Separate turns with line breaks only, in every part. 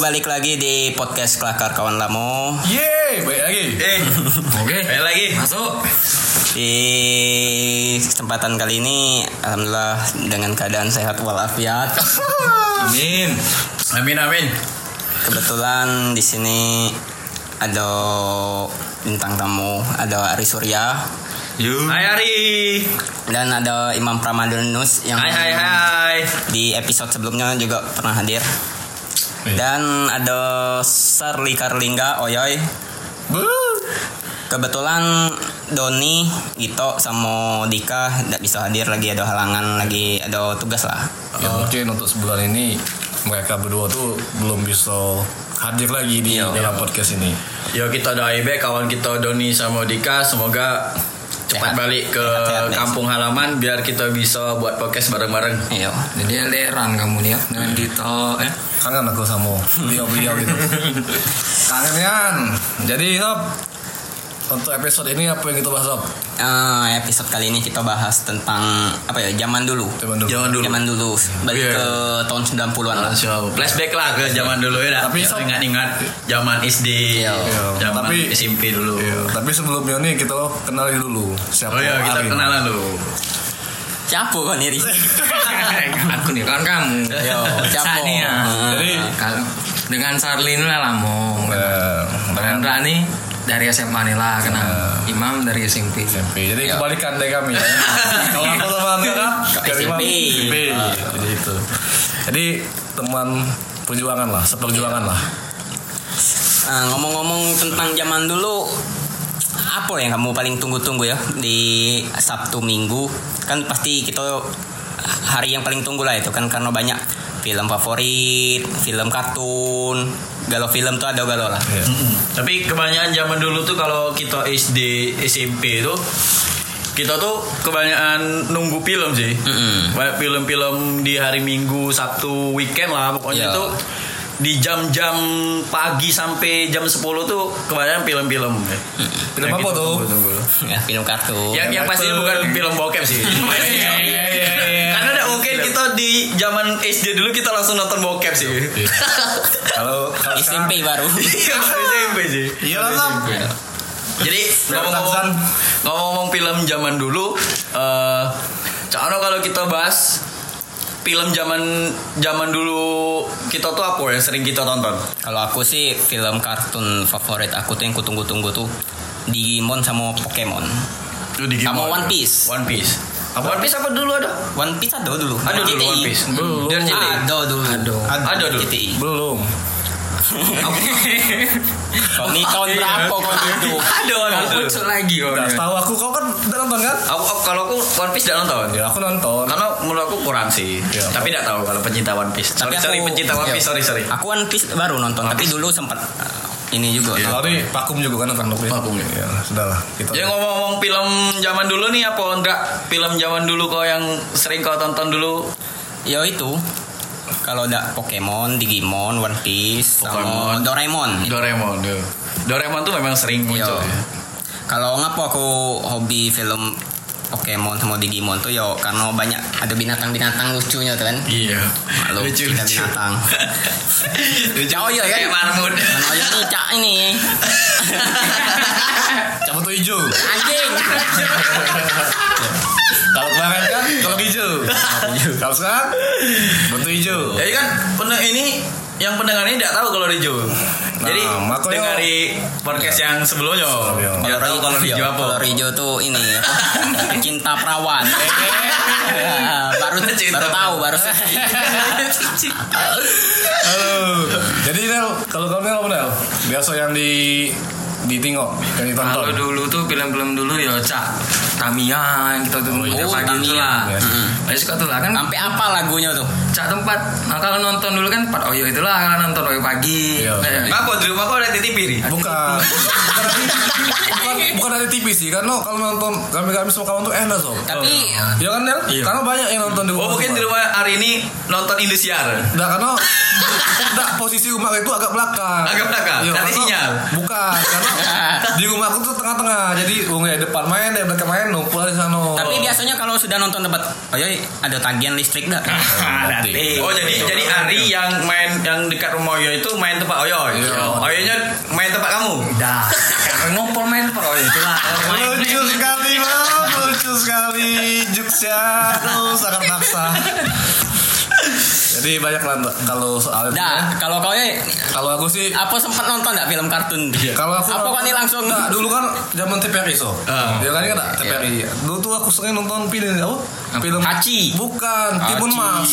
balik lagi di podcast Kelakar Kawan Lamo
Yeay, baik lagi.
Eh,
Oke.
balik lagi.
Masuk.
Di kesempatan kali ini Alhamdulillah dengan keadaan sehat walafiat
Amin.
Amin amin.
Kebetulan di sini ada bintang tamu Ada Ari Surya
Yuk.
Hai Ari.
Dan ada Imam Pramadunus Yang
Hai hai hai.
di episode sebelumnya juga pernah hadir Dan ada Sarli Karlingga Oyoy Kebetulan Doni, Gito, sama Dika tidak bisa hadir lagi ada halangan lagi ada tugas lah.
Ya,
Oh.
mungkin untuk sebulan ini mereka berdua tuh belum bisa hadir lagi di
Iya.
dalam podcast ini.
Yo kita doain baik kawan kita Doni sama Dika semoga
Sehat.
cepat balik ke
Sehat, sehat,
kampung halaman biar kita bisa buat podcast bareng-bareng.
Iya.
Jadi leran kamu nih ya dengan Dito eh
Kangen aku sama beliau-beliau gitu. Kangen kan. Jadi sob, untuk episode ini apa yang kita bahas sob?
Eh, episode kali ini kita bahas tentang apa ya zaman dulu.
Zaman dulu.
Zaman dulu.
Zaman dulu. Balik
Iya.
ke tahun 90-an lah.
Langsung flashback lah ke zaman dulu ya.
Tapi,
Tapi
Sob-
ingat-ingat zaman SD,
Iya.
zaman
Tapi-
SMP dulu.
Iya, tapi sebelumnya nih kita kenalin dulu siapa
Oh iya kita
Ari.
kenalan dulu.
Capo kan ini.
aku nih kan kamu.
Yo, capo.
Sani ya.
Jadi
Kalau dengan Sarlin lah lamo.
eh, dengan
Dengan Rani dari SMA nih lah kenal. Imam dari SMP.
SMP. Jadi kebalikan dari kami. ya. Kalau aku sama Andra dari
SMP.
SMP.
Ah,
Jadi itu. Jadi teman perjuangan lah, seperjuangan lah.
Eh, ngomong-ngomong tentang zaman dulu apa yang kamu paling tunggu-tunggu ya di Sabtu Minggu kan pasti kita hari yang paling tunggu lah itu kan karena banyak film favorit film kartun galau film tuh ada galau lah
Iya.
Tapi kebanyakan zaman dulu tuh kalau kita SD SMP tuh kita tuh kebanyakan nunggu film sih.
Mm-mm.
Banyak film-film di hari Minggu, Sabtu, weekend lah pokoknya
Iya.
tuh di jam-jam pagi sampai jam 10 tuh kebanyakan film-film.
Film
Yang
apa
kita
tuh?
tunggu-tunggu.
ya film kartun
Yang yang pasti bukan film bokep sih.
Iya.
Karena ada mungkin kita di zaman SD dulu kita langsung nonton bokep sih.
Kalau kalau sekarang-
SMP baru
Iya, SMP sih.
Iya lah, Sam.
Jadi
Dari
ngomong-ngomong,
Tarzan.
ngomong film zaman dulu, eh Cak Ano kalau kita bahas film zaman zaman dulu kita tuh apa yang sering kita tonton?
kalau aku sih film kartun favorit aku tuh yang kutunggu-tunggu tuh Digimon sama Pokemon
Itu di
Sama One Piece.
One Piece. Apa One Piece apa dulu ada?
One Piece ada dulu
Ada dulu One Piece.
Belum.
Dari cilik.
ada dulu
Ada dulu.
GTI.
Belum.
Kau ini tahun
Iya.
berapa kau itu?
Ada One Piece. dulu.
Muncul lagi oh.
Iya.
Nah, setahu aku kau kan udah nonton kan?
Aku aku- Oh, kalau aku One Piece tidak nonton.
Ya aku nonton.
Karena menurut aku kurang sih.
Iya.
Tapi tidak tahu kalau pencinta One Piece.
Tapi
Sorry, sorry
aku-
pencinta One
iya.
Piece. Sorry, sorry.
Aku One Piece baru nonton, tapi dulu sempat ini juga.
Iya.
nonton.
Sorry, Pakum juga kan nonton lebih.
Pakum. iya.
Ya, sudahlah. Kita.
Jadi ngomong-ngomong film zaman dulu nih apa enggak film zaman dulu kau yang sering kau tonton dulu?
Ya itu. Kalau ada Pokemon, Digimon, One Piece, sama
Pokemon.
Doraemon.
Doraemon. tuh. Doraemon tuh memang sering
Iya.
muncul. ya.
Kalau ngapa aku hobi film Pokemon sama Digimon tuh yo karena banyak ada binatang-binatang lucunya tuh kan.
Iya.
Malu
Lucu
kita
lucu.
binatang.
lucu.
Cak Oyo, ya?
Kayak marmut.
Mana aja nih cak ini.
Cabut tuh hijau.
Anjing.
Kalau kemarin kan kalau hijau. Kalau sekarang betul hijau.
Jadi kan pernah ini yang pendengar ini tidak tahu kalau Rijo.
Ah,
Jadi
makanya-
dengari Iya. podcast yang sebelumnya.
Sebelumnya.
Tidak tahu kalau Rijo apa.
Kalau Rijo tuh ini apa? Cinta perawan. Ya, baru
Eh. Cinta
baru tahu baru.
Halo. Jadi Nel, kalau kamu Nel apa Nel? Biasa yang di ditengok, yang ditonton.
Kalau dulu tuh film-film dulu ya Cak Tamiya yang kita tunggu
iya.
tiap
Oh,
pagi itu
Tamiya.
lah.
Mm-mm.
Ayo suka tuh lah kan
Sampai apa lagunya tuh?
Cak tempat. Nah, kalau nonton dulu kan Pak Oyo itulah kalau nonton Oyo pagi.
Iya.
Eh,
Apa di rumah kau ada titik piri?
Bukan. bukan, dari- bukan, bukan dari TV sih, karena kalau nonton kami-kami semua kawan tuh enak sob.
Tapi
Iya kan Nel?
Iya.
Karena banyak yang nonton di rumah.
Oh mungkin
semua.
di rumah hari ini nonton Indosiar.
Nggak, karena nggak, posisi rumah itu agak belakang.
Agak belakang?
Iya,
Nanti
karena-
sinyal?
Bukan, karena di rumahku tuh tengah-tengah jadi wong ya depan main ya belakang main numpul di sana
Oh.
Tapi biasanya kalau sudah nonton tempat, ayo ada tagihan listrik Gitu. dah.
Nanti.
Oh jadi jadi Ari yang main yang dekat rumah Oyo itu main tempat Oyo.
Iya.
Oyonya main tempat kamu.
Dah. Karena ngompol main Pak Oyo itu lah.
lucu sekali mam lucu sekali juksnya tuh sangat maksa jadi banyak lah Mbak, kalau soal itu ya.
Dah, kalau kau ya,
kalau aku sih
apa sempat nonton nggak film kartun?
Iya, kalau aku
apa kau nih langsung? Ah. Iya.
Nggak, dulu kan zaman TPRI so ya kan kan TPRI dulu tuh aku sering nonton film apa film
Hachi.
bukan Timun Mas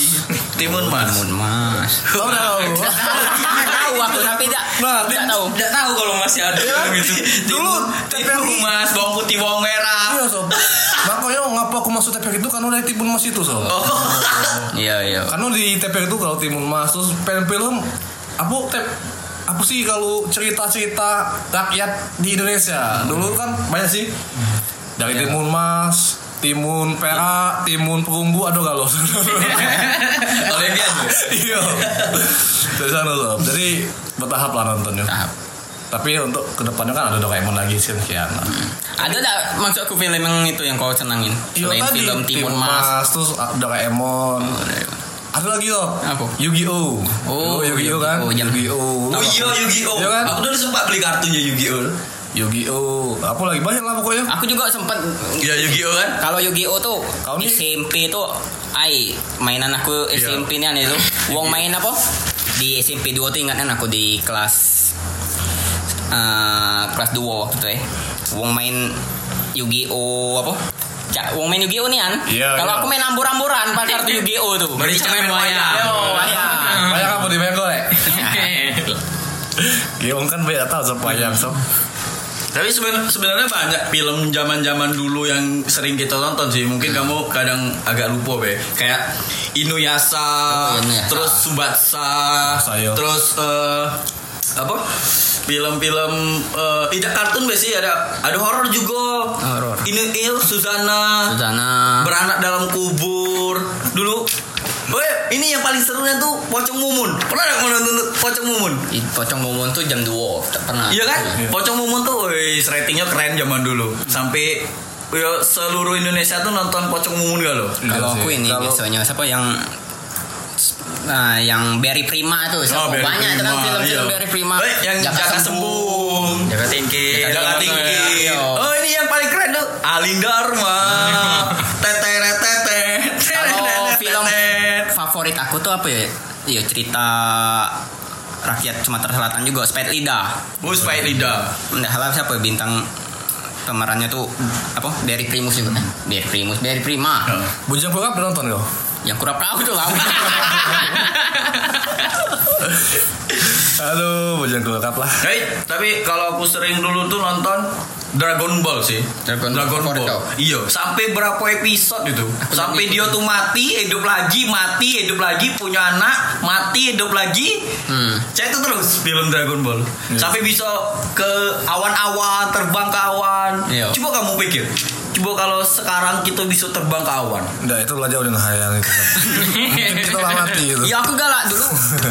Timun Mas.
Mas.
tau nggak tahu
tahu aku tapi tidak
Nah,
tidak tahu. Iya.
Tidak tahu kalau masih ada film itu.
Dulu
Timun- Timun
TPRI
Mas, bawang putih, bawang merah.
Iya sob Makanya ya, ngapa aku masuk TPR itu karena dari Timun Mas itu sob
Oh. Iya iya.
Karena di TPR itu kalau Timun Mas Terus film-film Apa tep apa sih kalau cerita-cerita rakyat di Indonesia dulu kan banyak sih dari
Iya.
timun mas, timun perak, timun perunggu, aduh galau.
Iya,
Oleh dia.
Iya. Dari sana loh. Jadi bertahap lah nontonnya.
Tahap.
Tapi untuk kedepannya kan ada Doraemon lagi sih sekian. lah.
Ada tak maksudku film yang itu yang kau senangin?
Iya
Selain
tadi
film Timun Mas.
Mas terus Doraemon.
Oh, iya.
Ada lagi loh.
Apa?
Yu-Gi-Oh.
Oh,
Dulu Yu-Gi-Oh kan.
Yu-Gi-Oh, iya.
Yu-Gi-Oh.
Oh iya Yu-Gi-Oh.
Iya kan?
Aku dulu sempat beli kartunya Yu-Gi-Oh.
Yu-Gi-Oh. Apa lagi banyak lah pokoknya.
Ah.
Aku juga sempat
Iya Yu-Gi-Oh kan?
kalau Yu-Gi-Oh tuh
Kau nih-
SMP tuh ai mainan aku
Iya.
SMP nih aneh tuh. kan Wong main apa? Di SMP 2 tuh ingatan kan? aku di kelas eh, kelas 2 waktu itu ya. Wong main Yu-Gi-Oh apa? Cak, wong main Yu-Gi-Oh nih an.
Iya,
kalau
iya.
aku main ambur-amburan pas kartu Yu-Gi-Oh tuh.
Berarti Cak main wayang.
Yo, wayang.
Banyak apa di banyak golek. Giong kan banyak tahu sob
Hmm.
banyak sob.
Tapi seben- sebenarnya banyak film zaman-zaman dulu yang sering kita tonton sih. Mungkin kamu kadang agak lupa be. Kayak
Oh,
Inuyasha,
Inuyasha.
terus Subatsa,
Sayo.
terus eh, apa? Film-film eh, tidak kartun be sih ada ada horor juga.
Ah, Horor.
Inu Il Susana,
Suzana.
beranak dalam kubur. Dulu Oh ya, ini yang paling serunya tuh Pocong Mumun. Pernah nggak kamu nonton Pocong Mumun?
Ih, Pocong Momon tuh jam 2 tak pernah.
Iya kan? Pocong Mumun tuh wih, ratingnya keren zaman dulu. Sampai ya, seluruh Indonesia tuh nonton Pocong Mumun gak lo?
Kalau aku ini
Kalau-
biasanya siapa yang nah, yang Barry Prima tuh siapa?
Oh, Barry
banyak itu kan
Prima,
film-film
iya.
Barry Prima.
Eh, yang Jaka, Sembung. Iya,
Jaga tinggi.
Jaka Tinggi.
iya.
Oh, ini yang paling keren tuh Alinda Dharma. Tete tete. iya,
Kalau film favorit aku tuh apa ya? Iya cerita rakyat Sumatera Selatan juga Sped Lida.
Bus Pak Oh, Lida.
Nggak salah siapa ya, bintang pemerannya tuh apa? Barry Primus juga. Eh, Barry Primus, Barry Prima.
Iya.
Bujang Pura pernah nonton kau?
Yang kurang tahu tuh kamu.
Aduh, Bujang Pura lah.
Hey, tapi kalau aku sering dulu tuh nonton Dragon Ball sih.
Dragon Ball favorit kau?
Iya, sampai berapa episode itu? sampai dia tuh mati, hidup lagi, mati, hidup lagi, punya anak, mati, hidup lagi.
Hmm.
Saya itu terus film Dragon Ball. Sampai bisa ke awan-awan, terbang ke awan.
Iya.
Coba kamu pikir. Coba kalau sekarang kita bisa terbang ke awan.
Nggak, itu lah jauh dengan khayal itu. Sob. Mungkin kita lah mati gitu.
Ya
Iya.
aku galak dulu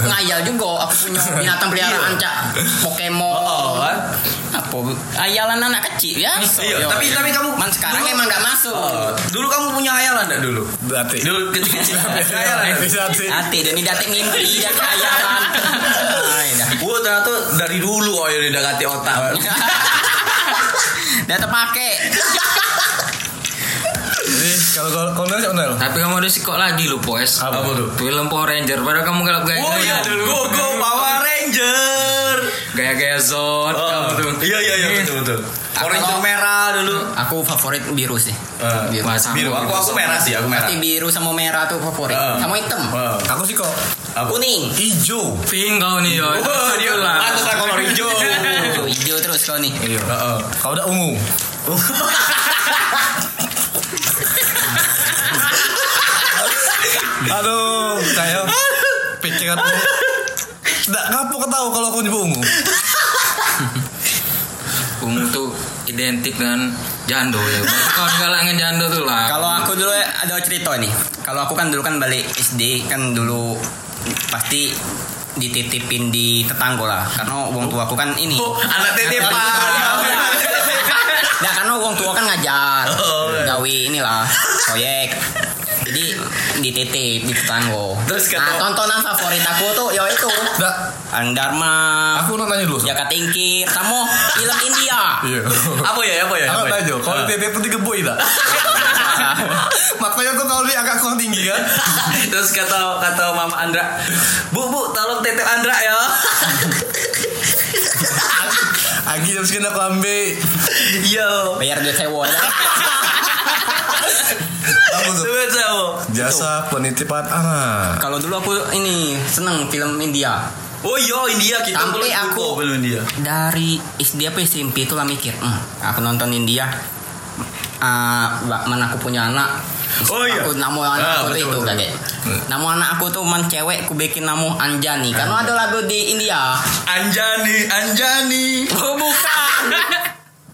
ngayal juga aku punya binatang peliharaan cak Pokemon.
Oh, kan?
Apa ayalan anak kecil ya?
Iya, tapi tapi kamu
Man sekarang
dulu-
emang nggak masuk.
Oh, dulu kamu punya hayalan enggak dulu?
Berarti.
Dulu Ah. kecil-kecil. Hayalan.
Berarti.
Hati dan tidak mimpi dan ayalan. ya, Nah, ya dah.
Gue Oh, ternyata dari dulu oh ya udah ganti otak.
Dia terpakai.
Jadi kalau kalau kalau nanya Onel.
Tapi kamu udah sikok lagi lu Poes.
Apa? Apa tuh?
Film Power Ranger. Padahal kamu galap gaya.
Oh iya dulu. Go go Power Ranger.
Gaya-gaya zon. Kamu tuh.
Iya iya iya betul betul.
Kalau-
Power Ranger merah dulu.
Aku favorit biru sih.
Eh,
biru.
Wah, sama
Biru. Aku
gitu.
aku merah sih, Iya, aku merah.
Tapi biru sama merah tuh favorit.
Eh.
Sama hitam.
Wow.
Aku sih kok
Aku nih.
Kuning.
hijau.
Pink kau nih yo.
Oh dia
lah.
lah. Aku kolor hijau.
Tuh, Hijau terus kau nih.
Iya. Kalau udah ungu. Aduh, kayak pikiran aku. Nggak kapok tahu kalau aku nyebut ungu.
Ungu tuh identik dengan jando ya. Kau galak dengan jando tuh lah.
Kalau aku dulu ada cerita nih. Kalau aku kan dulu kan balik SD kan dulu pasti dititipin di tetangga lah karena wong tua aku kan ini
Oh, anak titipan.
Nah karena wong tua kan ngajar
Oh, iya.
gawe inilah proyek. Jadi dititip di tetangga.
Terus kata-
nah, tontonan favorit aku tuh ya itu.
Nggak,
Andarma,
aku mau nanya dulu. Sam.
Jaka Tingkir, sama film India.
Iya.
apa ya apa ya
Ya. Aku
apa ya?
tanya Jo, kalau di TT itu digebui tak? Makanya tuh kalau dia agak kurang tinggi kan?
terus kata kata mama Andra bu bu tolong titip Andra ya
Agi jam segini aku ambil.
yo
Bayar dia sewa. ya.
Apa tuh?
sebut saya
Jasa penitipan ah. anak.
Kalau dulu aku ini seneng film India.
oh yo India kita
Sampai
belum
aku-
buku, belum India
Dari SD apa SMP itu lah mikir, "Hmm, aku nonton India. Ah, bak- mana aku punya anak
Oh, iya.
aku namo anak
Ah,
aku tuh itu
betul, betul.
kakek namo anak aku tuh man cewek ku bikin namo Anjani karena ada lagu di India
Anjani Anjani
oh bukan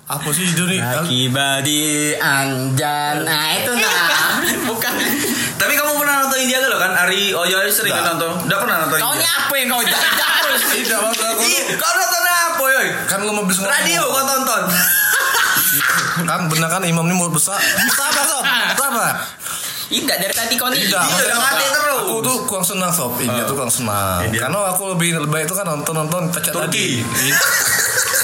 Apa sih Joni?
Akibadi Anjan nah itu nah bukan
tapi kamu pernah nonton India gak lo kan Ari Oyo Ari sering kan nonton udah pernah nonton
kau
India
ini apa yang kau jadi terus
Tidak mau aku.
Ih, kau nonton apa yoy
Kan lu mau beli semua.
radio kau tonton
Kan benar kan imam ini mulut besar. Sabar sob. Sabar.
tidak dari tadi kau ini
Tidak.
Iya, udah mati terus.
Aku tuh kurang senang sob. India tuh kurang senang.
India.
Karena aku lebih lebih baik itu kan nonton nonton cacat tadi.
Turki.
Ih.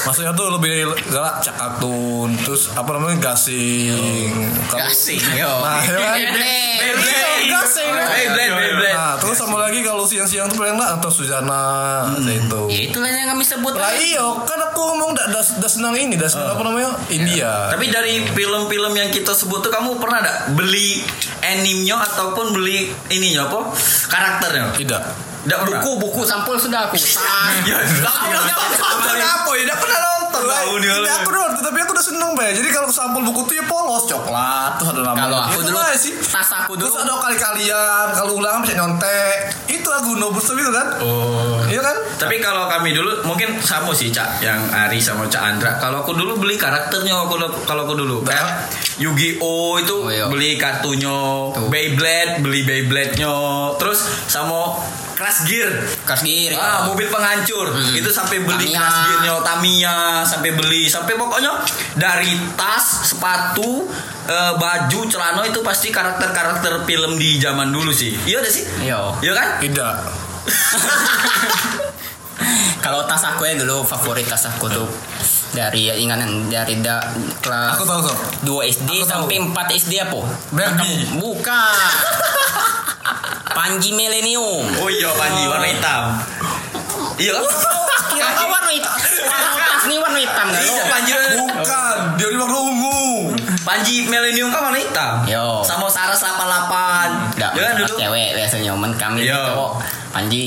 Maksudnya tuh lebih galak cakatun terus apa namanya gasing. Kalau-
gasing yo
Nah, ya kan?
Beyblade. Beyblade, Beyblade.
Nah, terus sama lagi kalau siang-siang tuh paling lah atau Sujana atau itu.
ya itulah yang kami sebut
Lah iya, kan aku ngomong dah das, das senang ini, das senang apa namanya? India.
tapi dari film-film yang kita sebut tuh kamu pernah gak beli animnya ataupun beli ininya apa karakternya
tidak.
Nggak pernah.
buku buku sampul sudah aku
Ya, nggak pernah nonton apa
Iya,
ya? Nggak pernah nonton.
Lah,
Tahu dia.
tidak aku doang, tapi aku udah seneng bay. Jadi kalau sampul buku tuh ya polos, coklat, terus ada nama.
Kalau aku
Itu
dulu,
lah sih.
tas aku dulu.
Terus ada kali-kalian, kalau ulangan bisa nyontek. Itu aku nobus tapi itu kan.
Oh.
Iya kan?
Tapi kalau kami dulu mungkin sama sih Cak yang Ari sama Cak Andra. Kalau aku dulu beli karakternya aku kalau aku dulu kayak Yu-Gi-Oh itu
Oh, iya.
beli kartunya, Beyblade beli Beyblade-nya, terus sama Crash Gear.
kasir
Ah, mobil penghancur. Itu sampai beli
Iya. Hmm. Tamiya.
Crash Gear-nya Tamiya, sampai beli sampai pokoknya dari tas, sepatu, eh, baju, celana itu pasti karakter-karakter film di zaman dulu sih. Iya udah sih?
Iya.
Iya kan?
Tidak.
Kalau tas aku ya dulu favorit tas aku tuh dari ya, ingatan dari da, kelas
Aku tahu sob.
2 SD
Aku tahu.
sampai 4 SD apa?
Barbie.
Bukan. Panji Milenium.
Oh iya Panji warna hitam. Iya kan?
Kira-kira Ah, warna hitam. Warna Tas nih warna hitam kan?
Iya, Panji
Bukan, dia di warna ungu.
Panji Millennium kan warna hitam.
Yo.
Sama Saras 88.
Enggak,
Iya kan dulu.
cewek biasanya men kami
Iya.
cowok. Panji.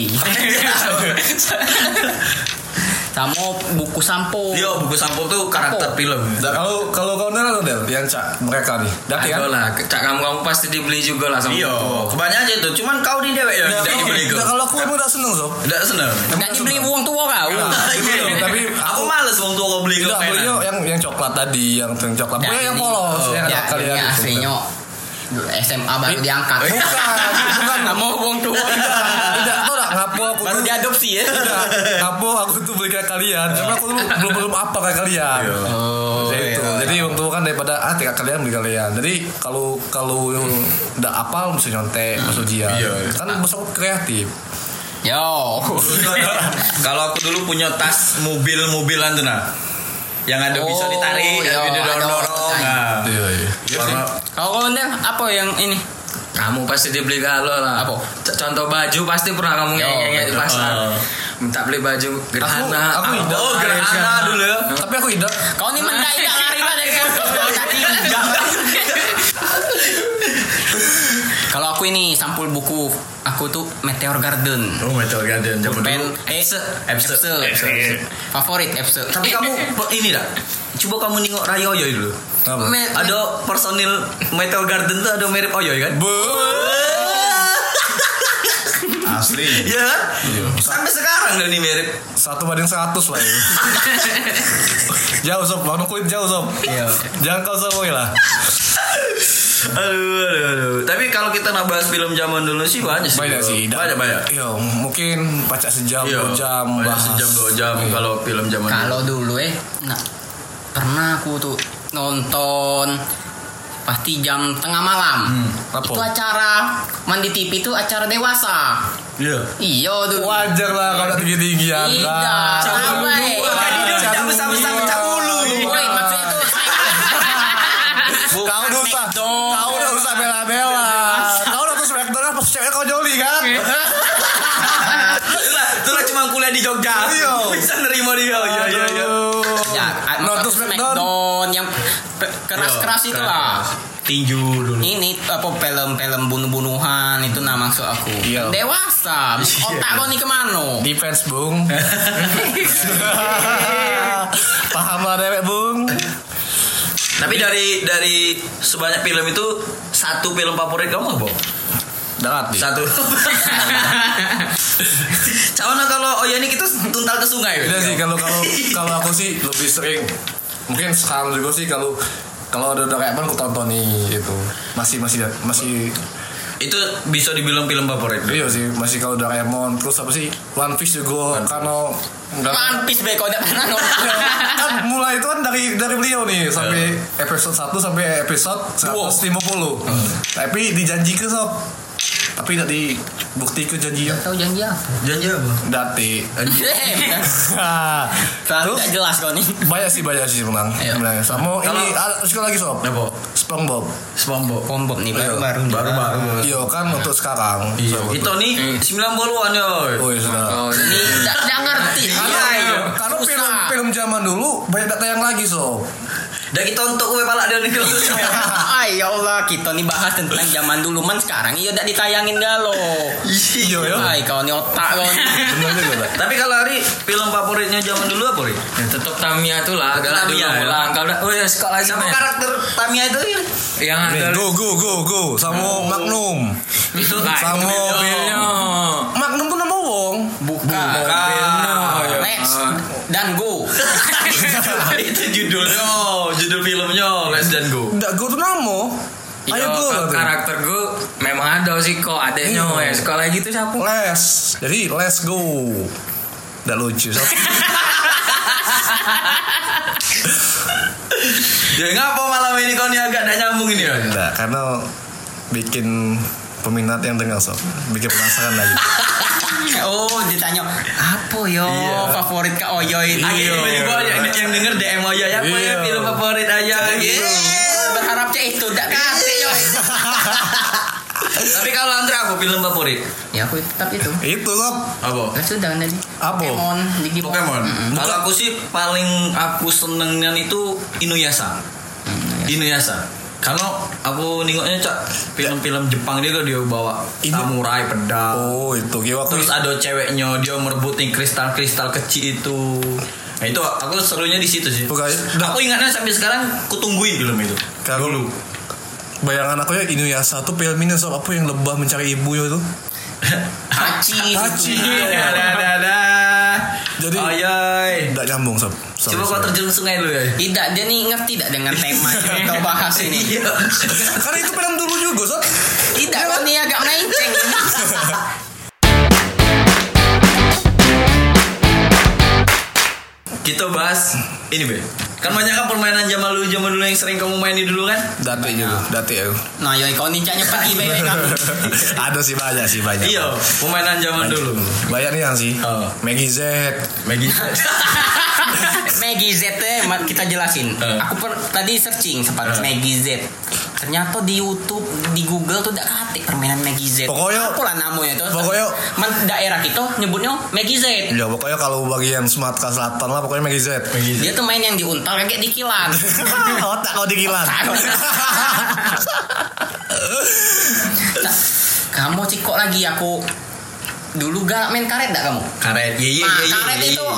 Kamu buku sampo.
Yo Iya, buku sampo tuh karakter
Sampo.
film.
Nah, kalau kalau kau nela tuh Del, yang cak mereka nih. Dati kan?
Ada lah, cak kamu kamu pasti dibeli juga lah sama.
Iya,
itu.
kebanyakan aja itu. Cuman kau di dewek ya,
Nah,
tidak dibeli
nah,
kau.
kalau aku emang udah seneng sob.
Tidak senang.
Enggak dibeli uang tua kau.
Iya,
tapi
aku males wong tua kau beli
Tidak, belinya
kau.
yang yang coklat tadi, yang yang coklat. Pokoknya yang polos,
Oh,
yang
ya,
ada
ini
kalian. gitu.
aslinya SMA baru diangkat.
Iya.
Bukan, bukan.
Kamu wong tua.
Tidak, tau gak ngapo aku
Baru
tuh
diadopsi ya.
Iya.
Tidak, ngapo aku tuh beli kayak kalian Cuma aku tuh belum belum apa kayak kalian
Iya.
Oh,
Jadi itu, jadi untuk kan daripada ah tingkat kalian beli kalian Jadi kalau kalau udah apal mesti nyontek, mesti ujian
Iya, iya.
Kan mesti aku kreatif
Yo.
Kalau aku dulu punya tas mobil-mobilan tuh nah. Yang ada bisa
Oh,
ditarik,
iya,
yang ada
ada
dorong-dorong.
otak.
Nah.
Iya, iya
Warna
Kalau kau Ndel, apa yang ini?
Kamu pasti dibeli galau lah.
Apa?
C- Contoh baju pasti pernah kamu
Yo,
ngeyel di
betul.
pasar.
Oh.
Minta beli baju gerhana.
aku
apa,
tidak.
Oh,
apa,
gerhana
apa.
dulu ya.
Tapi aku tidak
Kau ini mendadak lari lah dari kantor tadi. Kalau aku ini sampul buku, aku tuh Meteor Garden.
Oh my god, Garden zaman
Pen
dulu.
Epse,
Epse. Epse.
Favorit Epse. Eh,
Tapi kamu pe- ini dah. Coba kamu nengok Raya Oyoy dulu.
Apa?
Me-
Ada personil Metal Garden tuh ada mirip Oyoy kan?
Asli
Iya kan? Sampai sekarang dan ini mirip.
Satu banding seratus lah ya
Iya,
Jauh sob, warna kulit jauh sob Jangan kau soboy lah
aduh, aduh, aduh. Tapi kalau kita nak bahas film zaman dulu sih banyak sih.
Banyak
bro.
sih. dah-
Banyak banyak.
Iya, mungkin pacak sejam,
Iya,
dua jam,
banyak
bahas.
sejam dua jam
Iya.
kalau film zaman dulu.
Kalau dulu eh, nah, pernah aku tuh nonton pasti jam tengah malam.
Hmm,
apa?
Itu acara mandi TV itu acara dewasa.
Iya.
Iya dulu.
Wajar lah kalau kan. tinggi tinggian.
Tidak, sama, eh. Tadi dia
udah besar-besar-besar dulu.
Woi, maksudnya itu saingan.
Kau udah usah,
McDonald.
kau udah usah bela-bela. Kau udah terus McDonald pas cewek kau joli kan?
Iya.
Itulah, itulah cuma kuliah di Jogja.
Iya.
Bisa nerima dia. Iya iya iya.
ya,
Notus
notus McDon yang pe- keras-keras itu lah.
Tinju dulu.
Ini apa film-film bunuh-bunuhan itu nah maksud aku.
Iya.
Dewasa,
Iya.
otak kau nih kemana?
Defense bung. Paham lah dewek bung.
Tapi dari dari sebanyak film itu satu film favorit kamu apa?
Darat nih.
Satu. Cawana kalau oh ya ini kita tuntal ke sungai.
Beda Iya sih kalau kalau kalau aku sih lebih sering. Mungkin sekarang juga sih kalau kalau ada Doraemon aku tonton nih itu masih masih masih
Itu bisa dibilang film favorit.
iya sih masih kalau Doraemon terus apa sih One Piece juga karena nggak-
Mantis be kau udah pernah nonton.
kan mulai itu kan dari dari beliau nih sampai episode 1 sampai episode 150. Hmm. Tapi dijanjikan sob. Tapi tidak dibuktikan janjinya.
Tahu janji apa?
Janji apa?
Dati.
Terlalu nggak jelas kau nih.
banyak sih banyak sih menang.
Iya.
Menang. Sama ini
Kalau-
ada sekali lagi sob.
Apa?
SpongeBob.
SpongeBob.
Kombok nih
Iya.
baru-baru. nih.
Iya kan untuk sekarang.
Iya.
Sob.
Itu nih 90-an ya.
Oh iya sudah.
Oh,
Ini
ini
nggak nggak ngerti.
Iya, iya.
Karena
Susah.
film film zaman dulu banyak data yang lagi sob.
Dan kita untuk gue palak dia nih.
Ay ya Allah kita nih bahas tentang zaman dulu man sekarang iya udah ditayangin galo.
Iya
ya.
Ay kau nih otak kau. nih.
Benar juga. Pak.
Tapi kalau Ari film favoritnya zaman dulu apa, Ri?
ya, tetap Tamiya tuh lah, galak dulu
Tamiya, ya.
pulang. Kalau udah, oh ya sekolah lagi
Sama
men.
karakter Tamiya itu ya? Ri?
Yang
Nah,
ada
Go go go go sama
Oh.
Magnum.
itu
Sama
mobilnya.
Magnum tuh nama wong. Nah, iya.
Buka.
Mobilnya.
Ah, Next Ah. dan go.
itu judulnya, judul filmnya Let's Dan Go.
Enggak go tuh nama. Ayo
Iya,
Ayo
kan,
go lah tuh.
karakter gue memang ada sih kok adeknya
Iya.
ya sekolah gitu siapa?
Les. Jadi let's go. Enggak lucu. Sob.
Ya ngapa malam ini kau nih agak tidak nyambung ini ya?
Enggak karena bikin peminat yang dengar sob bikin penasaran lagi.
Oh ditanya apa yo
Iya.
favorit kak Oyoy ini.
Akhirnya tiba-tiba
iya.
yang, yang denger DM Oya ya apa ya
Iya.
film favorit aja gitu.
Berharap cek itu dak kasih yo.
Tapi kalau Andra apa film favorit?
Ya aku tetap itu.
Itu sob.
Apa?
Nah, sudah tadi.
Apa?
Pokemon, Digimon.
Pokemon.
Mm-mm.
Kalau aku sih paling aku senengnya itu Inuyasha. Inuyasha. Kalau aku nengoknya cak film-film Jepang dia kan dia bawa
Inu-
samurai pedang.
Oh itu Ki, waktu
Ah. Terus ada ceweknya dia merebutin kristal-kristal kecil itu. Nah, itu aku serunya di situ sih. Nah,
Bukan, dah.
Aku ingatnya sampai sekarang kutungguin film itu.
Kalau- bayangan aku ya Inuyasha tuh film ini sob apa yang lebah mencari ibu itu.
Hachi.
Hachi.
gitu.
Ada ada ada.
Iya. Jadi-
Ayoy.
Enggak nyambung sob. Sorry,
Eh. Coba kau
sorry.
terjun sungai dulu ya.
Tidak, dia nih ngerti tidak dengan tema yang kita bahas ini.
Iya.
Karena itu film dulu juga sob.
Tidak, kok nih agak melenceng.
Kita bahas ini be. Kan banyak kan permainan zaman dulu zaman dulu yang sering kamu mainin dulu kan?
Dati juga, dati ya.
Nah, yo kau nincaknya pergi baik kamu.
Ada sih banyak sih banyak.
Iya, permainan zaman dulu.
Banyak nih yang sih.
Oh.
Maggie Z.
Maggie.
Maggie Z eh, ma- kita jelasin.
Eh.
Aku per- tadi searching sempat Maggie Z. Ternyata di YouTube, di Google tuh tidak katik permainan Maggie Z.
Pokoknya-
apalah namanya itu.
pokoknya-
Man, daerah kita nyebutnya Maggie Z.
Ya pokoknya kalau bagian Sumatera Selatan lah pokoknya Maggie Z.
Dia tuh main yang diuntal kayak dikilan.
Otak kau dikilan.
Nah, kamu cikok lagi aku dulu galak main karet gak kamu?
Karet. Iya iya
Nah,
iya. iya,
karet
iya,
itu
iya.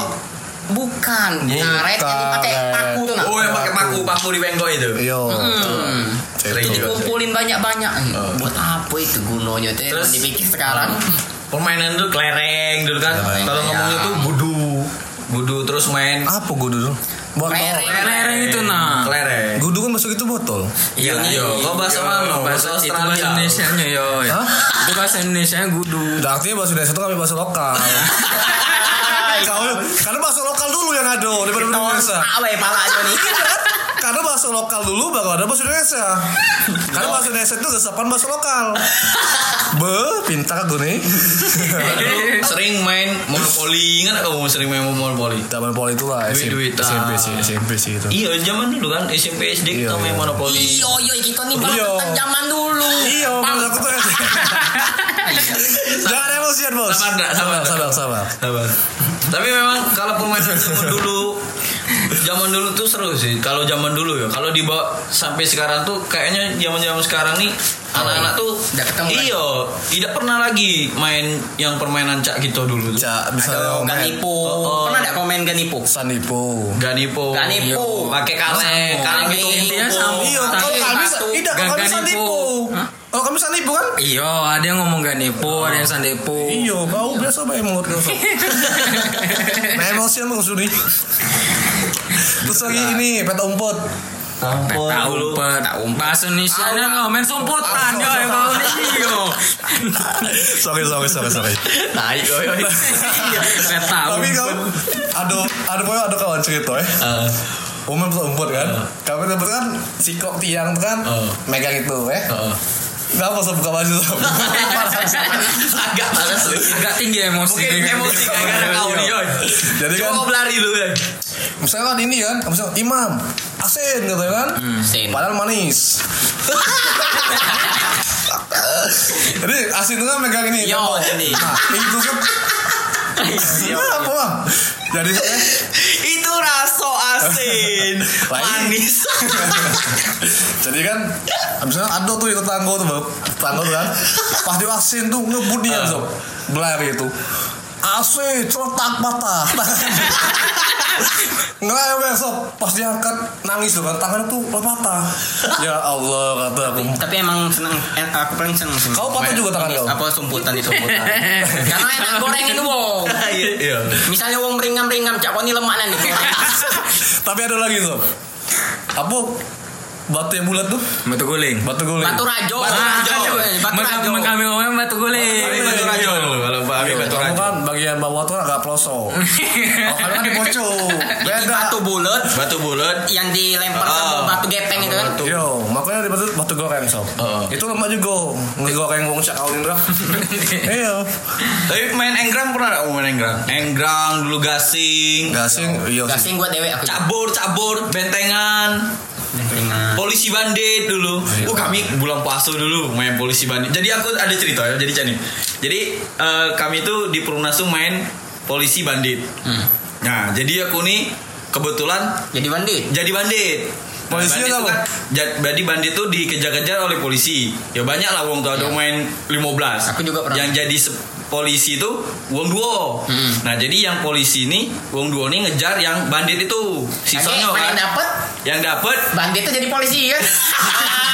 bukan karet yang dipakai
Karet.
paku tuh nah.
Oh yang pakai paku paku di bengkok itu.
Yo.
Hmm.
Itu
Itu.
Kumpulin banyak-banyak. Eh, Buat apa itu gunanya itu?
Terus-
Terus dipikir sekarang.
permainan tuh kelereng dulu kan
Kelereng.
kalau
Iya.
ngomongnya tuh budu budu terus main
Apa gue dulu? Botol.
Kelereng kelereng itu nah.
Kelereng.
Gudu kan masuk itu botol.
Iya, yo, kok bahasa
Iya, Bahasa
mana? Bahasa
itu bahasa
Australia.
Indonesia nya yo.
Hah?
Itu bahasa Indonesia gudu.
Udah artinya bahasa Indonesia itu kami bahasa lokal. Kau- karena bahasa lokal dulu yang ada daripada bahasa Indonesia.
Apa ya pala aja nih?
Karena bahasa lokal dulu baru ada bahasa Indonesia. Karena bahasa Indonesia itu resapan bahasa lokal. Be, pintar aku nih.
Dulu sering main monopoli ingat kamu sering main monopoli
Zaman pol itu lah SMP,
Duit-duitan.
SMP sih, SMP sih itu.
Ah. iya zaman dulu kan SMP SD
Iya,
kita main
iya.
monopoli
Iyo yo kita nih
Iyo.
bahas tentang zaman dulu.
Iya, maksud aku tuh. Jangan emosian bos.
Sabar, nggak? Sabar.
sabar, sabar.
Sabar. tapi memang kalau permainan zaman dulu zaman dulu tuh seru sih kalau zaman dulu ya kalau dibawa sampai sekarang tuh kayaknya zaman zaman sekarang nih anak-anak tuh
Nggak ketemu
kan?
lagi.
iya tidak pernah lagi main yang permainan cak kita dulu tuh
Cak, misalnya
Aduh,
komen.
Ganipo.
Oh, oh.
Pernah enggak komen Oh, Ganipo?
Sanipo.
ganipo
Ganipo.
pakai kaleng
Sama.
kaleng itu
Kaleng.
Intinya
kumpul.
sama.
Iya,
Tapi
kalau kami
satu,
tidak kalau kami
gak
sanipo.
nipu. Hah?
Kalau kami sanipo kan?
Iya, ada yang ngomong gak nipu, ada yang sandepo.
Iya, kau biasa main mulut kau. Nah, emosian bang Suni. Terus lagi ini peta umpet.
Eh,
Tampol
Tak
dulu.
umpet, tak umpet. Bahasa Indonesia nya komen sumputan yo iya, emang Gitu. iyo.
Sorry, sorry, sorry, sorry.
Nah,
Naik
iya,
kau, yoi.
Peta
Tapi kau
umpet.
ada ada pokoknya ada kawan cerita ya.
Eh,
Umum peta umpet kan. Kami peta umpet kan sikok tiang tuh kan
Eh.
megang itu eh.
eh.
Gak apa buka baju Sob.
agak panas lu
Agak tinggi emosi.
mungkin emosi gara-gara kau nih
Iya,
yoi.
Jadi
Coba
kan-
kau berlari dulu ya
Misalnya kan ini kan, misalnya imam asin katanya kan.
Sen.
Padahal manis. Jadi asin itu kan megang ini.
Yo,
tembok.
ini.
Nah, itu kan. Apa Bang? Jadi eh,
itu rasa asin manis
jadi kan misalnya ada tuh yang tetangga tuh Bang. Tetangga tuh kan. Pas dia asin tuh ngebut dia
Ah.
sob. Belari itu. Asin terletak patah. Nggak besok pas diangkat nangis tuh kan tangannya tuh patah. Ya Allah kata aku
Tapi emang seneng eh, aku paling seneng sih.
Kau patah juga tangan kau?
Apa sumputan itu sumputan. Karena enak goreng itu, Bong.
iya
Misalnya wong ringam-ringam cak koni lemak lah nanti.
Tapi ada lagi sob. Apa batu yang bulat tuh?
Batu guling.
Batu guling.
Batu rajo.
Batu rajo.
Batu rajo.
Meng- Kami ngomongnya batu
Kami
guling.
batu rajo dulu, kalau Pak Ami
Iya,
batu
kamu
rajo
kan bagian bawah tuh agak pelosok. Oh, Kalau kamu kan di poco.
Ini
Beda.
Batu bulat
batu bulat
yang dilempar
Ah.
sama batu gepeng itu kan.
Yo, makanya di batu, batu goreng sob.
Heeh.
Itu lemak juga. Ngegoreng wong cak alin dah. Iya.
tapi main enggrang pernah nggak kamu main enggrang enggrang dulu gasing
Gasing, iya. sih.
Gasing gua dewe aku.
cabur cabur bentengan polisi bandit dulu. Oh kami bulan puasa dulu main polisi bandit. Jadi aku ada cerita ya. Jadi Cani. Jadi eh, kami tuh di Perumnasu main polisi bandit. Nah jadi aku nih kebetulan
Hmm. Jadi bandit.
jadi bandit.
Polisinya
bandit tuh
apa?
kan, ja- jadi bandit tuh dikejar-kejar oleh polisi. Ya banyak lah wong tuh ada main 15.
Iya. Aku juga pernah. Hmm.
Yang jadi se- polisi itu wong duo. Nah, jadi yang polisi ini wong duo ini ngejar yang bandit itu. Sisanya
Oke,
kan
yang dapet
yang dapat
bandit tuh jadi polisi kan.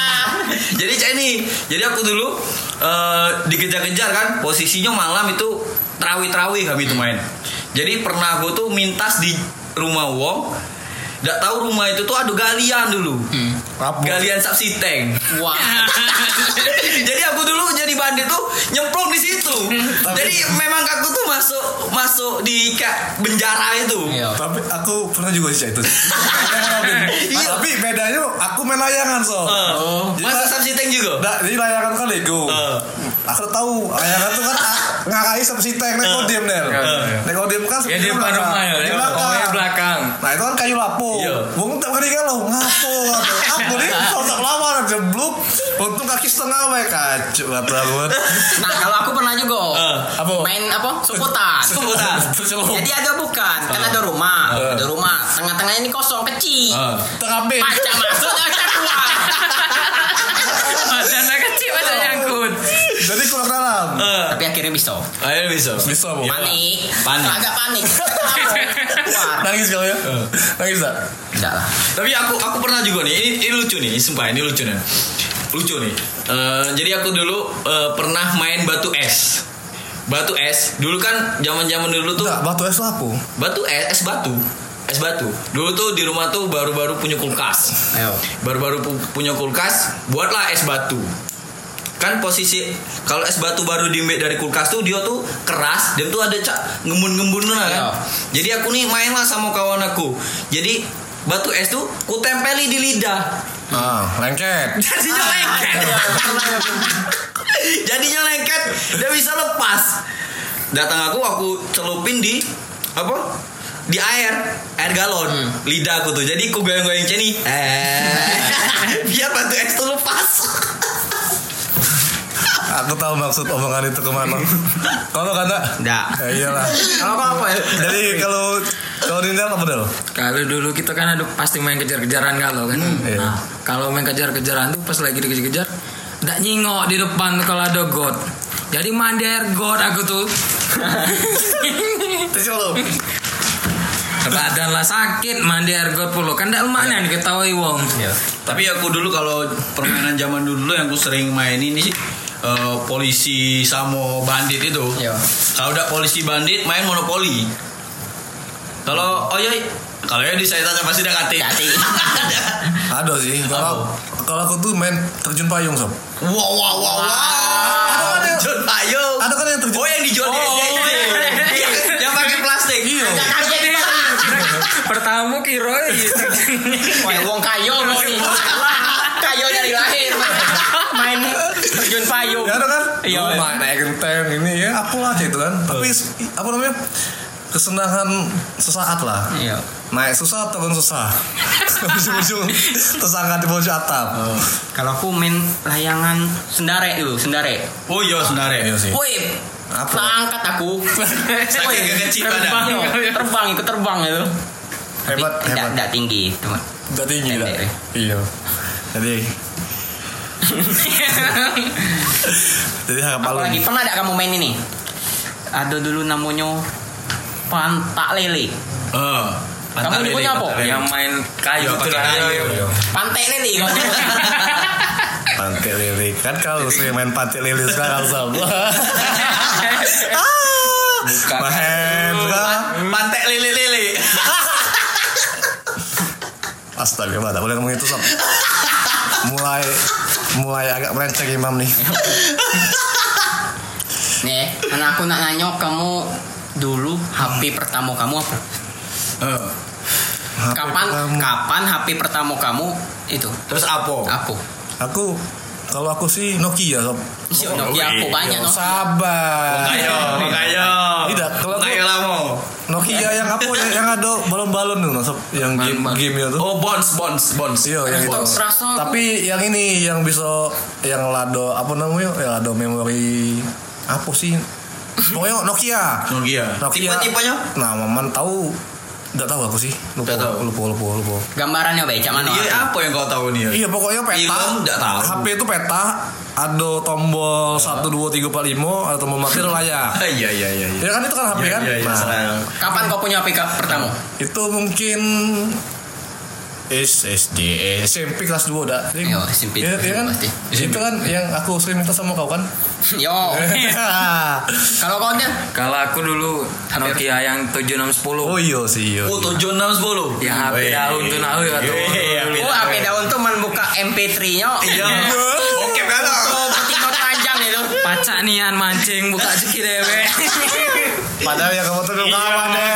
jadi cak ini jadi aku dulu eh, dikejar-kejar kan posisinya malam itu terawih-terawih kami itu main jadi pernah aku tuh mintas di rumah Wong Gak tahu rumah itu tuh ada galian dulu
Hmm.
Apa?
Galian subsiteng
Wah.
Jadi aku dulu jadi bandit tuh nyemplung di situ Jadi memang aku tuh masuk masuk di ka- penjara itu
Iya.
Tapi aku pernah juga sih itu.
Iya.
Tapi bedanya aku main layangan sob.
Eh,
Jadi
Masuk
lah-
subsiteng juga?
Nah, jadi layangan kan Lego.
Eh.
Aku tahu layangan tuh kan ah, ngarahin sama si Tank Neko Dim Nel.
iya.
Neko Dim kan
Ya
seperti
di depan rumah ya.
Di
ya. Oh, ya,
belakang.
belakang.
Nah itu kan kayu lapo.
Iya.
Wong tak kali kalau ngapo. ngapo. Aku nih sosok lawan jeblok. Untung kaki setengah wae kacau kata gue.
Nah, kalau aku pernah juga.
Eh,
apa?
Main apa? Sumputan.
Sebutan
Jadi ada bukan, kan ada rumah, ada rumah. Tengah-tengahnya ini kosong, kecil.
Eh.
Terapin.
Pacak masuk, eh, pacak keluar.
Badannya kecil, badan nyangkut.
Jadi kurang dalam.
Eh,
Tapi akhirnya bisa.
Ayo bisa
Bisa bu.
Panik.
Iya, Panik.
Agak panik. Keluar.
Nangis kau ya. Nangis tak?
Enggak lah.
Tapi aku aku pernah juga nih. Ini, ini lucu nih, sumpah ini lucu nih. Lucu nih. Eh, jadi aku dulu eh, pernah main batu es. Batu es. Dulu kan zaman-zaman dulu tuh
Enggak, batu es lapo.
batu eh, es, es batu. es batu. Dulu tuh di rumah tuh baru-baru punya kulkas.
Ayo.
Baru-baru pu- punya kulkas, buatlah es batu. Kan posisi kalau es batu baru diambil dari kulkas tuh dia tuh keras, dia tuh ada cak ngembun-ngembun lah kan.
Iya.
Jadi aku nih mainlah sama kawan aku. Jadi batu es tuh ku tempeli di lidah.
Ah, lengket.
Jadinya lengket. Jadinya lengket, dia bisa lepas. Datang aku aku celupin di apa? Di air, air galon. Lidah aku tuh. Jadi aku goyang-goyang ceni. Eh. Biar batu es tuh lepas.
Aku tahu maksud omongan itu kemana. Kalau kata,
Nggak.
ya iyalah.
Apa apa ya?
Jadi kalau kalau Dinda apa dong?
Kalau dulu kita kan ada pasti main kejar-kejaran kalau kan.
iya.
Nah, kalau main kejar-kejaran tuh pas lagi dikejar-kejar, ndak nyingok di depan tuh kalau ada god. Jadi mandi air god aku tuh. Badan lah sakit mandi air god puluh kan ndak lumayan diketahui wong.
Tapi aku dulu kalau permainan zaman dulu yang aku sering mainin ini sih eh, polisi sama bandit itu.
Iya.
Kalau udah polisi bandit main monopoli. Kalau oh iya, kalau ya di saya tanya pasti udah kati.
Kati.
Ada sih. Kalau kalau aku tuh main terjun payung sob.
Wow wow wow wow.
Ada-
John Payung.
Ada kan yang
iya,
terjun.
Oh yang di John
Oh,
ya, ya, ya, ya. Yang, yang pakai plastik. Iya.
Pertama kira gitu.
ya, Wong kayo Kayo dari lahir. Main terjun payung.
Ya ada kan?
Iya.
Dulu main naik genteng ini ya apalah kayak itu kan. Tapi s- apa namanya? Kesenangan sesaat lah.
Iya.
Naik susah turun susah. Ujung-ujung tersangka di pojok atap.
Oh. Kalau aku main layangan sendare dulu, sendare.
Oh iya sebenarnya.
Iya sih.
Woi,
Apa?
Terangkat aku. Woi,
kekecil
terbang,
badan.
yo. terbang, ikut terbang itu.
Hebat,
Tidak,
hebat.
tidak tinggi, teman.
Udah tinggi
Pendek,
dah.
ya.
Iya. Jadi jadi harap
Apalagi
alun.
pernah tidak kamu main ini? Ada dulu namanya pantak lele.
Ah,
Eh,
Kamu
pantai
nyebutnya apa?
lele, pantai lele.
Yang main kayu
Iya,
itu
pakai
lah.
kayu.
Pantai lele kamu.
Pantai lele kan kalau sering main pantai lele sekarang Ah! sob.
Bukan.
kan? Mahendra.
Pantai lele lele.
Astaga, Mbak, tak boleh ngomong itu sob. Mulai mulai agak melenceng imam nih.
Nih, anak aku nak nanya kamu dulu HP pertama kamu apa?
Eh,
HP
Kapan
pertama.
kapan HP pertama kamu itu?
Terus Oh, apa?
Aku.
Aku kalau aku sih Nokia sob.
Si
iya,
Nokia aku banyak
Yo,
no.
Sabar.
Kayo, kayo. Iya,
Tidak, kalau aku-
kayo lah mau.
Nokia yang apa ya? yang ada balon-balon tuh sob, yang game
Balon-balon.
game itu.
Oh bonds bonds bonds.
Iya, yang itu.
Aku rasa aku-
Tapi yang ini yang bisa yang lado apa namanya? Ya lado memori apa sih? Pokoknya Nokia.
Nokia.
Nokia.
Tipe-tipenya?
Nah, Maman tahu Gak tahu aku sih. Lupa,
Nggak tahu.
lupa, lupa, lupa.
Gambarannya baik, cak mana?
Iya apa yang kau tahu nih? ya?
Iya pokoknya peta.
Film nggak tahu. Iya.
HP itu peta. Ada tombol satu dua tiga empat lima, ada tombol mati, ada layar.
Ah, Iya iya iya. iya.
Ya kan itu kan HP
Iya,
kan.
iya, iya,
Nah,
serang.
Kapan kau punya HP ka- pertama?
itu mungkin S- SD SMP kelas 2 udah.
Iya, SMP.
Ya, ya kan?
Pasti.
Itu kan yang aku sering minta sama kau kan.
Yo.
Iya.
Kalau kau Jan?
Kalau aku dulu Nokia yang 7610.
oh iya sih iya.
Oh tujuh enam sepuluh.
Ya, HP daun tuh, nah, ya, tuh.
Oh, HP daun tuh man buka MP3-nya.
Iya. Oke kan?
Oh, putih kau panjang itu.
Pacak nian mancing buka ceki dewe.
Padahal yang kamu tuh
Iya,
belum kawan deh.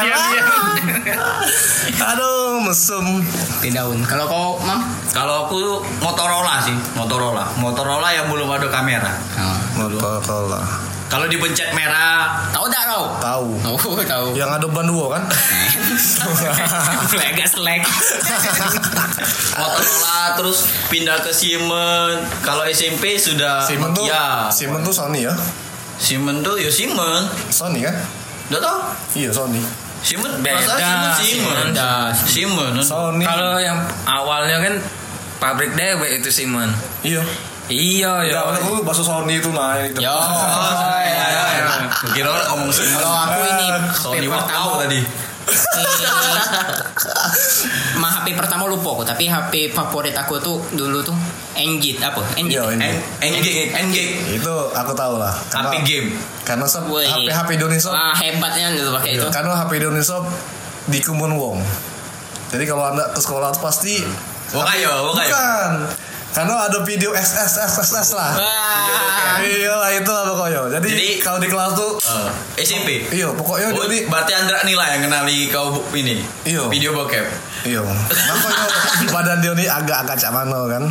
Ah. Aduh, mesum.
Di daun. Kalau kau, Mam?
Kalau aku Motorola sih, Motorola. Motorola yang belum ada kamera.
Oh.
Motorola.
Kalau dipencet merah,
Tahu tak kau?
Tahu.
Oh, tahu.
Yang ada ban dua kan?
Iya.
Agak selek.
Motorola terus pindah ke Siemens. Kalau SMP sudah
Simon tuh,
Nokia.
Simon tuh Sony ya?
Siemens tuh ya Siemens.
Sony kan?
Udah tau?
Iya Sony.
Siemens
Beda,
perasaan Siemens.
Siemens.
Siemens.
Sony.
Kalau yang awalnya kan pabrik dewe itu Simon.
iya.
Iya,
Ya,
ya.
awalnya aku bakso Sony itu nah. Yo.
Yo.
Oh, iya, iya, iya. Kira orang ngomong Siemens.
Kalau aku ini
Sony
HP pertama
Wakao tadi.
Eh, Mah HP pertama lupa aku, tapi HP favorit aku tuh dulu tuh Engit apa? Engit.
Iya, ini.
Engage, engage.
Itu aku tahu lah.
HP
Karena-
game.
Karena sob
Woi.
HP HP Indonesia. Iya.
Iya. Wah, hebatnya dulu pakai itu.
Karena HP Indonesia dikumun wong. Jadi kalau anda ke sekolah tuh pasti
Wokayo, wokayo.
Bukan. Karena ada video SSSSS lah. Iya lah itu lah pokoknya. Jadi,
Jadi-
kalau di kelas tuh
Eh, SMP.
Iya, pokoknya
Oh,
jadi
berarti Andra nih lah yang kenali kau bu- ini.
Iya.
Video bokep.
iya. Kenapa yo badan dia ini agak-agak cak mano kan?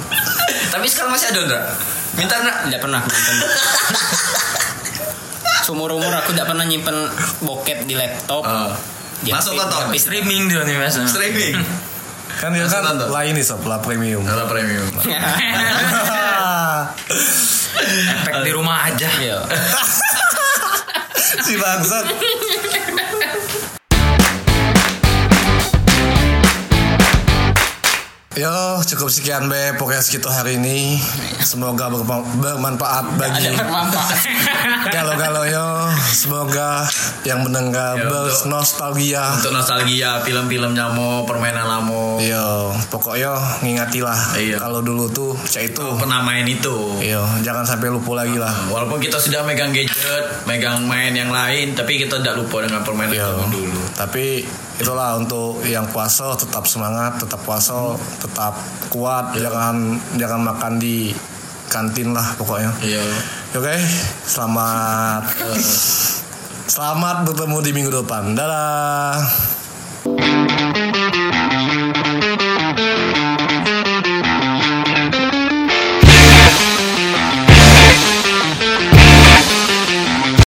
Tapi sekarang masih ada Andra. Minta Andra.
Tidak pernah aku nyimpen. Seumur umur aku tidak pernah nyimpen bokep di laptop.
Eh,
Di HP,
Masuk tonton.
di HP.
streaming dia nih mas
Streaming.
Kan dia
Langsung
kan
nonton.
lain nih sob, lah premium.
Ada premium.
efek di rumah aja
Iya.
si bangsat. Yo, cukup sekian be podcast kita hari ini. Semoga berpa- bermanfaat bagi galau-galau yo. Semoga yang mendengar
Ya, untuk-
bernostalgia.
Untuk nostalgia film-film nyamo, permainan lamo.
Yo, pokoknya ngingatilah
Iya.
kalau dulu tuh cek itu.
Pernah main itu.
Yo, Iya, jangan sampai lupa lagi lah.
Walaupun kita sudah megang gadget, megang main yang lain, tapi kita tidak lupa dengan permainan
Yo,
zaman dulu.
Iya. tapi itulah untuk yang puasa tetap semangat, tetap puasa, tetap kuat, jangan jangan makan di kantin lah pokoknya.
Iya.
Oke, selamat eh, selamat bertemu di minggu depan. Dadah.